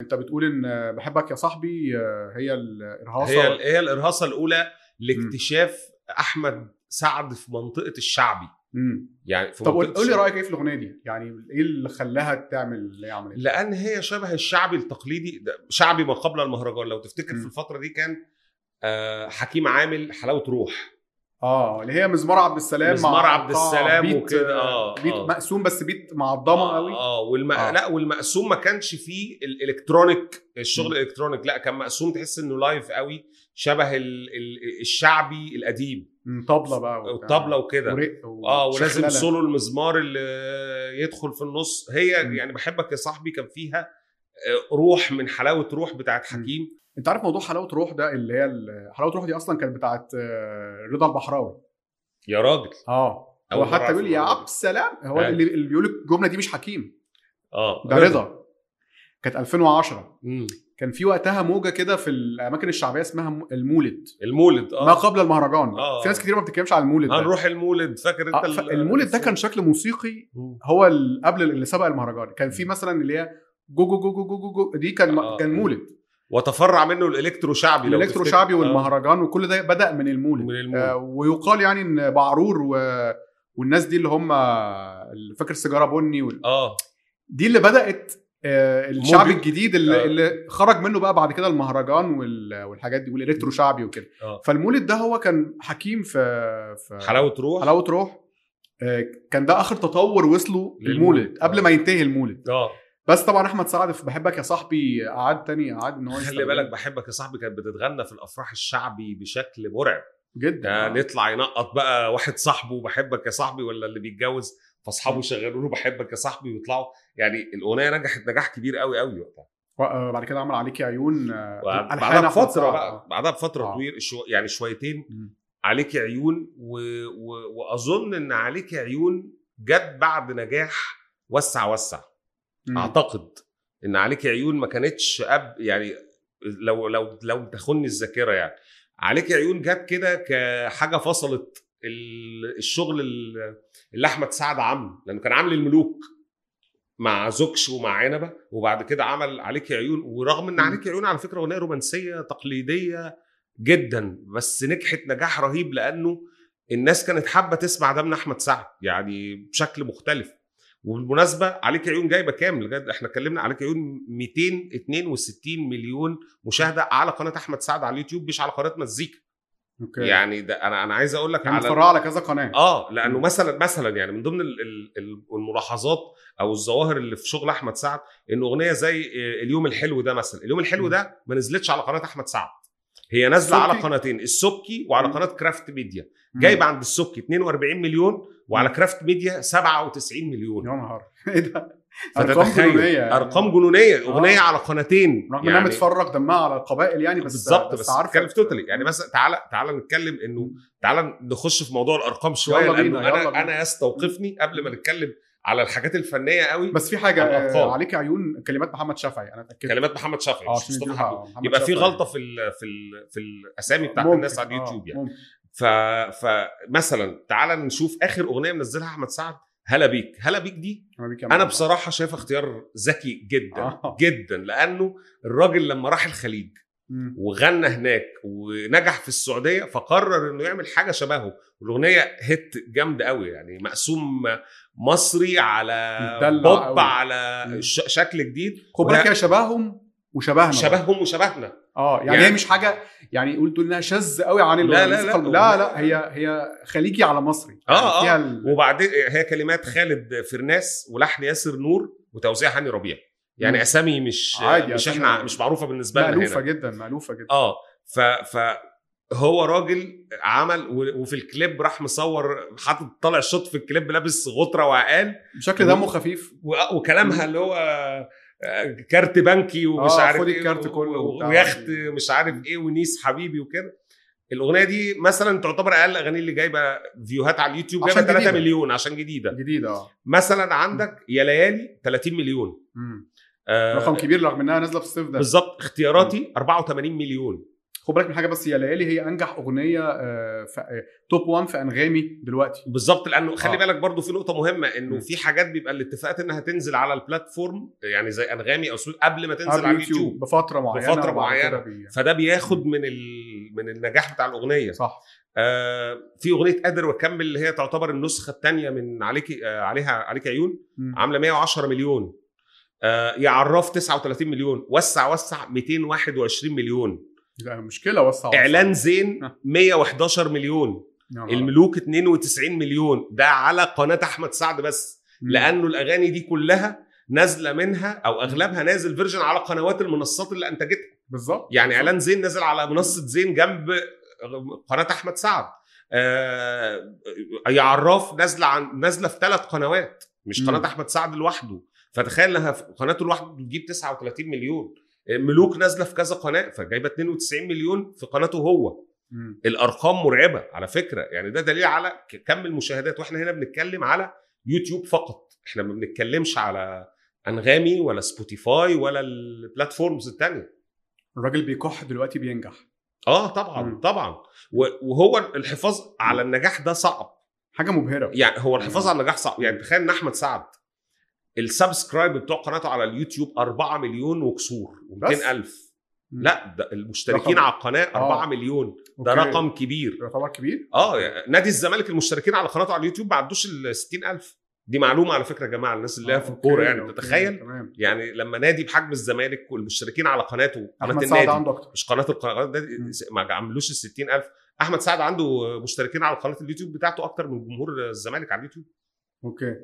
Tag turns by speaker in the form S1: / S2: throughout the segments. S1: انت بتقول ان بحبك يا صاحبي آه، هي الارهاصه
S2: هي ال- هي الارهاصه الاولى لاكتشاف احمد سعد في منطقه الشعبي
S1: مم.
S2: يعني في
S1: طب قول
S2: منطقة
S1: قول لي
S2: الشعبي.
S1: رايك ايه في الاغنيه دي يعني ايه اللي خلاها تعمل اللي هي عملته
S2: لان هي شبه الشعبي التقليدي ده شعبي ما قبل المهرجان لو تفتكر
S1: م.
S2: في الفتره دي كان آه، حكيم عامل حلاوه روح
S1: اه اللي هي مزمار عبد السلام مع
S2: مزمار عبد
S1: قطع
S2: السلام
S1: بيت-
S2: وكده، آه،
S1: بيت
S2: آه.
S1: مقسوم بس بيت معضمه قوي
S2: اه والم...
S1: آه.
S2: آه. لا والمقسوم ما كانش فيه الالكترونيك الشغل الالكترونيك لا كان مقسوم تحس انه لايف قوي شبه ال... ال... الشعبي القديم
S1: مم، طبله بقى وبتاع.
S2: الطبله وكده
S1: ورق
S2: اه ولازم
S1: وشخللة.
S2: سولو المزمار اللي يدخل في النص هي
S1: م.
S2: يعني بحبك يا صاحبي كان فيها آه، روح من حلاوه روح بتاعت حكيم
S1: انت عارف موضوع حلاوه روح ده اللي هي ال- حلاوه روح دي اصلا كانت بتاعت آه، رضا البحراوي
S2: يا راجل
S1: اه هو
S2: أول مرة
S1: حتى
S2: أعرف
S1: بيقول يا
S2: الموضوع ده.
S1: عبد السلام هو
S2: أيوة.
S1: اللي اللي بيقول الجمله دي مش حكيم
S2: اه
S1: ده رضا كانت 2010
S2: مم.
S1: كان في وقتها موجه كده في الاماكن الشعبيه اسمها م- المولد
S2: المولد اه
S1: ما قبل المهرجان
S2: آه.
S1: في ناس كتير ما بتتكلمش عن المولد ده
S2: هنروح المولد فاكر
S1: آه،
S2: انت
S1: ف-
S2: ال-
S1: المولد ده كان شكل موسيقي
S2: مم.
S1: هو ال- قبل اللي سبق المهرجان كان في مثلا اللي هي جو جو جو جو جو, جو, جو دي كان
S2: آه.
S1: كان مولد
S2: وتفرع منه الالكترو شعبي لو
S1: الالكترو
S2: تفتكر.
S1: شعبي
S2: آه.
S1: والمهرجان وكل ده بدا من المولد
S2: من المولد.
S1: آه، ويقال يعني ان بعرور و... والناس دي اللي هم اللي فاكر سيجاره بني وال...
S2: اه
S1: دي اللي بدات آه، الشعب
S2: موجة.
S1: الجديد اللي,
S2: آه.
S1: اللي خرج منه بقى بعد كده المهرجان وال... والحاجات دي والالكترو شعبي وكده
S2: آه.
S1: فالمولد ده هو كان حكيم في في
S2: حلاوه روح
S1: حلاوه روح آه، كان ده اخر تطور وصله
S2: للمولد. آه.
S1: المولد قبل ما ينتهي المولد
S2: اه
S1: بس طبعا احمد سعد في بحبك يا صاحبي قعد تاني قعد ان هو
S2: خلي
S1: يستخدمه
S2: بالك بحبك يا صاحبي كانت بتتغنى في الافراح الشعبي بشكل مرعب
S1: جدا
S2: ده
S1: آه.
S2: يعني نطلع ينقط بقى واحد صاحبه بحبك يا صاحبي ولا اللي بيتجوز فاصحابه يشغلوا له بحبك يا صاحبي ويطلعوا يعني الاغنيه نجحت نجاح كبير قوي قوي وقتها
S1: آه، بعد كده عمل عليك يا عيون آه،
S2: وبعد-
S1: ألحان
S2: بعدها
S1: أحمد
S2: بفتره
S1: سعد.
S2: بقى بعدها بفتره
S1: آه.
S2: طويله شو يعني شويتين
S1: مم.
S2: عليك عيون و... و... واظن ان عليك عيون جت بعد نجاح وسع وسع
S1: مم.
S2: اعتقد ان عليك عيون ما كانتش أب يعني لو لو لو تخني الذاكره يعني عليك عيون جت كده كحاجه فصلت ال- الشغل ال- اللي احمد سعد عامله لانه كان عامل الملوك مع زوكش ومع عنبه وبعد كده عمل عليك عيون ورغم ان
S1: مم.
S2: عليك عيون على فكره اغنيه رومانسيه تقليديه جدا بس نجحت نجاح رهيب لانه الناس كانت حابه تسمع ده من احمد سعد يعني بشكل مختلف وبالمناسبه عليك عيون جايبه كام لغايه احنا اتكلمنا عليك عيون 262 مليون مشاهده على قناه احمد سعد على اليوتيوب مش على قناه مزيكا
S1: اوكي يعني
S2: يعني ده انا انا عايز اقول لك على
S1: متفرعه على كذا قناه
S2: اه لانه
S1: مم.
S2: مثلا مثلا يعني من ضمن ال- ال- ال- الملاحظات او الظواهر اللي في شغل احمد سعد ان اغنيه زي آه، اليوم الحلو ده مثلا اليوم الحلو
S1: مم.
S2: ده ما نزلتش على قناه احمد سعد هي نازله على
S1: السبكي؟
S2: قناتين السبكي وعلى
S1: مم.
S2: قناه كرافت ميديا
S1: مم.
S2: جايبه عند السبكي 42 مليون وعلى كرافت ميديا 97 مليون
S1: يا نهار ايه ده ارقام
S2: فتتخيل
S1: جنونيه يعني.
S2: ارقام جنونيه اغنيه على قناتين
S1: رغم انها متفرج دمها على القبائل يعني بس
S2: يعني بالظبط بس,
S1: عارفة.
S2: بتتكلم في توتالي يعني بس تعالى تعالى نتكلم انه تعالى نخش في موضوع الارقام شويه
S1: يلا بينا،
S2: لانه
S1: يلا بينا.
S2: انا انا يستوقفني قبل ما نتكلم على الحاجات الفنيه قوي
S1: بس في حاجه
S2: الأطفال.
S1: آه، عليك عيون كلمات محمد شفعي انا اتاكدت
S2: كلمات محمد شافعي
S1: اه
S2: مش
S1: عشان
S2: مصطفى
S1: يدوها،
S2: حبيب
S1: آه، محمد
S2: يبقى في
S1: شفعي.
S2: غلطه في ال في ال في الاسامي بتاعت
S1: ممكن،
S2: الناس على
S1: آه،
S2: اليوتيوب يعني
S1: ممكن.
S2: ف فمثلا تعالى نشوف اخر اغنيه منزلها احمد سعد هلا بيك هلا بيك دي
S1: أنا بيك يا
S2: انا
S1: محمد.
S2: بصراحه شايف اختيار ذكي جدا
S1: آه.
S2: جدا لانه الراجل لما راح الخليج
S1: مم.
S2: وغنى هناك ونجح في السعوديه فقرر انه يعمل حاجه شبهه والاغنيه هيت جامده قوي يعني مقسوم مصري على
S1: مدلع
S2: آه، بوب
S1: قوي.
S2: على
S1: مم.
S2: ش- شكل جديد
S1: خد بالك هي شبههم وشبهنا
S2: شبههم وشبهنا
S1: اه يعني,
S2: يعني-
S1: هي مش حاجه يعني قلت انها شاذ قوي عن ال-
S2: لا، لا، لا.
S1: لا لا هي هي خليجي على مصري يعني
S2: آه، آه.
S1: فيها ال-
S2: وبعدين هي كلمات خالد فرناس ولحن ياسر نور وتوزيع هاني ربيع يعني
S1: مم.
S2: اسامي مش
S1: عادي،
S2: مش
S1: أسامي
S2: احنا
S1: عادي.
S2: مش معروفه بالنسبه لنا هنا
S1: مألوفه جدا مألوفه جدا
S2: اه ف ف هو راجل عمل و- وفي الكليب راح مصور حاطط طالع شوط في الكليب لابس غطره وعقال
S1: بشكل دمه خفيف
S2: و- وكلامها اللي هو آه، كارت بنكي ومش
S1: آه،
S2: عارف
S1: خد
S2: ايه
S1: الكارت
S2: و-
S1: كله
S2: و-
S1: وبتاع.
S2: ويخت مش عارف ايه ونيس حبيبي وكده الاغنيه دي مثلا تعتبر اقل الاغاني اللي جايبه فيوهات على اليوتيوب
S1: عشان
S2: جايبه 3
S1: جديدة.
S2: مليون عشان جديده
S1: جديده اه
S2: مثلا عندك يا ليالي 30 مليون
S1: مم.
S2: آه،
S1: رقم كبير رغم انها نازله في الصيف ده
S2: بالظبط اختياراتي 84 مليون
S1: خد بالك من حاجه بس يا ليالي هي انجح اغنيه آه، ف- آه، توب 1 في انغامي دلوقتي
S2: بالظبط لانه خلي
S1: آه.
S2: بالك برضو في نقطه مهمه انه
S1: م.
S2: في حاجات بيبقى الاتفاقات انها تنزل على البلاتفورم يعني زي انغامي او سول قبل ما تنزل على اليوتيوب
S1: بفتره معينه
S2: بفترة
S1: وبعد كده
S2: معينة.
S1: بي-
S2: فده بياخد من ال... من النجاح بتاع الاغنيه
S1: صح
S2: آه في اغنيه قادر واكمل اللي هي تعتبر النسخه الثانيه من عليك آه عليها عليك عيون
S1: مم.
S2: عامله 110 مليون آه يعرف 39 مليون وسع وسع 221 مليون
S1: لا مشكله وسع وسع.
S2: اعلان زين
S1: آه.
S2: 111 مليون
S1: يا نهار أبيض.
S2: الملوك 92 مليون ده على قناه احمد سعد بس
S1: مم.
S2: لانه الاغاني دي كلها نازله منها او اغلبها نازل فيرجن على قنوات المنصات اللي انتجتها
S1: بالظبط
S2: يعني اعلان زين نازل على منصه زين جنب قناه احمد سعد آه يا عراف نازله عن نازله في ثلاث قنوات مش
S1: مم.
S2: قناه احمد سعد لوحده فتخيل لها في قناته لوحده بتجيب 39 مليون آه، ملوك نازله في كذا قناه فجايبه 92 مليون في قناته هو
S1: مم.
S2: الارقام مرعبه على فكره يعني ده دليل على ك- كم المشاهدات واحنا هنا بنتكلم على يوتيوب فقط احنا ما بنتكلمش على انغامي ولا سبوتيفاي ولا البلاتفورمز التانية
S1: الراجل بيكح دلوقتي بينجح
S2: اه طبعا
S1: مم.
S2: طبعا و- وهو الحفاظ على النجاح ده صعب
S1: حاجه مبهره
S2: يعني هو الحفاظ على النجاح صعب يعني تخيل ان احمد سعد السبسكرايب بتوع قناته على اليوتيوب 4 مليون وكسور
S1: بس؟
S2: و200 الف لا ده المشتركين
S1: رقم.
S2: على القناه 4
S1: آه.
S2: مليون ده
S1: أوكي.
S2: رقم كبير
S1: يعتبر كبير
S2: اه يعني نادي الزمالك المشتركين على قناته على اليوتيوب ما عدوش ال 60000 دي معلومه على فكره يا جماعه الناس
S1: آه،
S2: اللي هي في الكوره يعني تتخيل
S1: تمام
S2: يعني لما نادي بحجم الزمالك والمشتركين على قناته قناه
S1: احمد سعد
S2: النادي
S1: عنده اكتر
S2: مش قناه القناه النادي
S1: مم.
S2: ما عملوش ال 60000 احمد سعد عنده مشتركين على قناه اليوتيوب بتاعته اكتر من جمهور الزمالك على اليوتيوب
S1: اوكي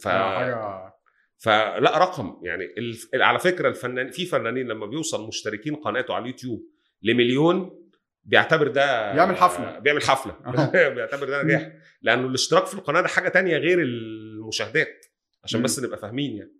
S2: ف...
S1: آه، حاجه
S2: فلا رقم يعني الف... على فكره الفنان في فنانين لما بيوصل مشتركين قناته على اليوتيوب لمليون بيعتبر ده
S1: بيعمل حفلة.
S2: بيعمل حفله
S1: آه.
S2: بيعتبر ده نجاح لانه الاشتراك في القناه ده حاجه تانية غير المشاهدات عشان
S1: مم.
S2: بس نبقى فاهمين يعني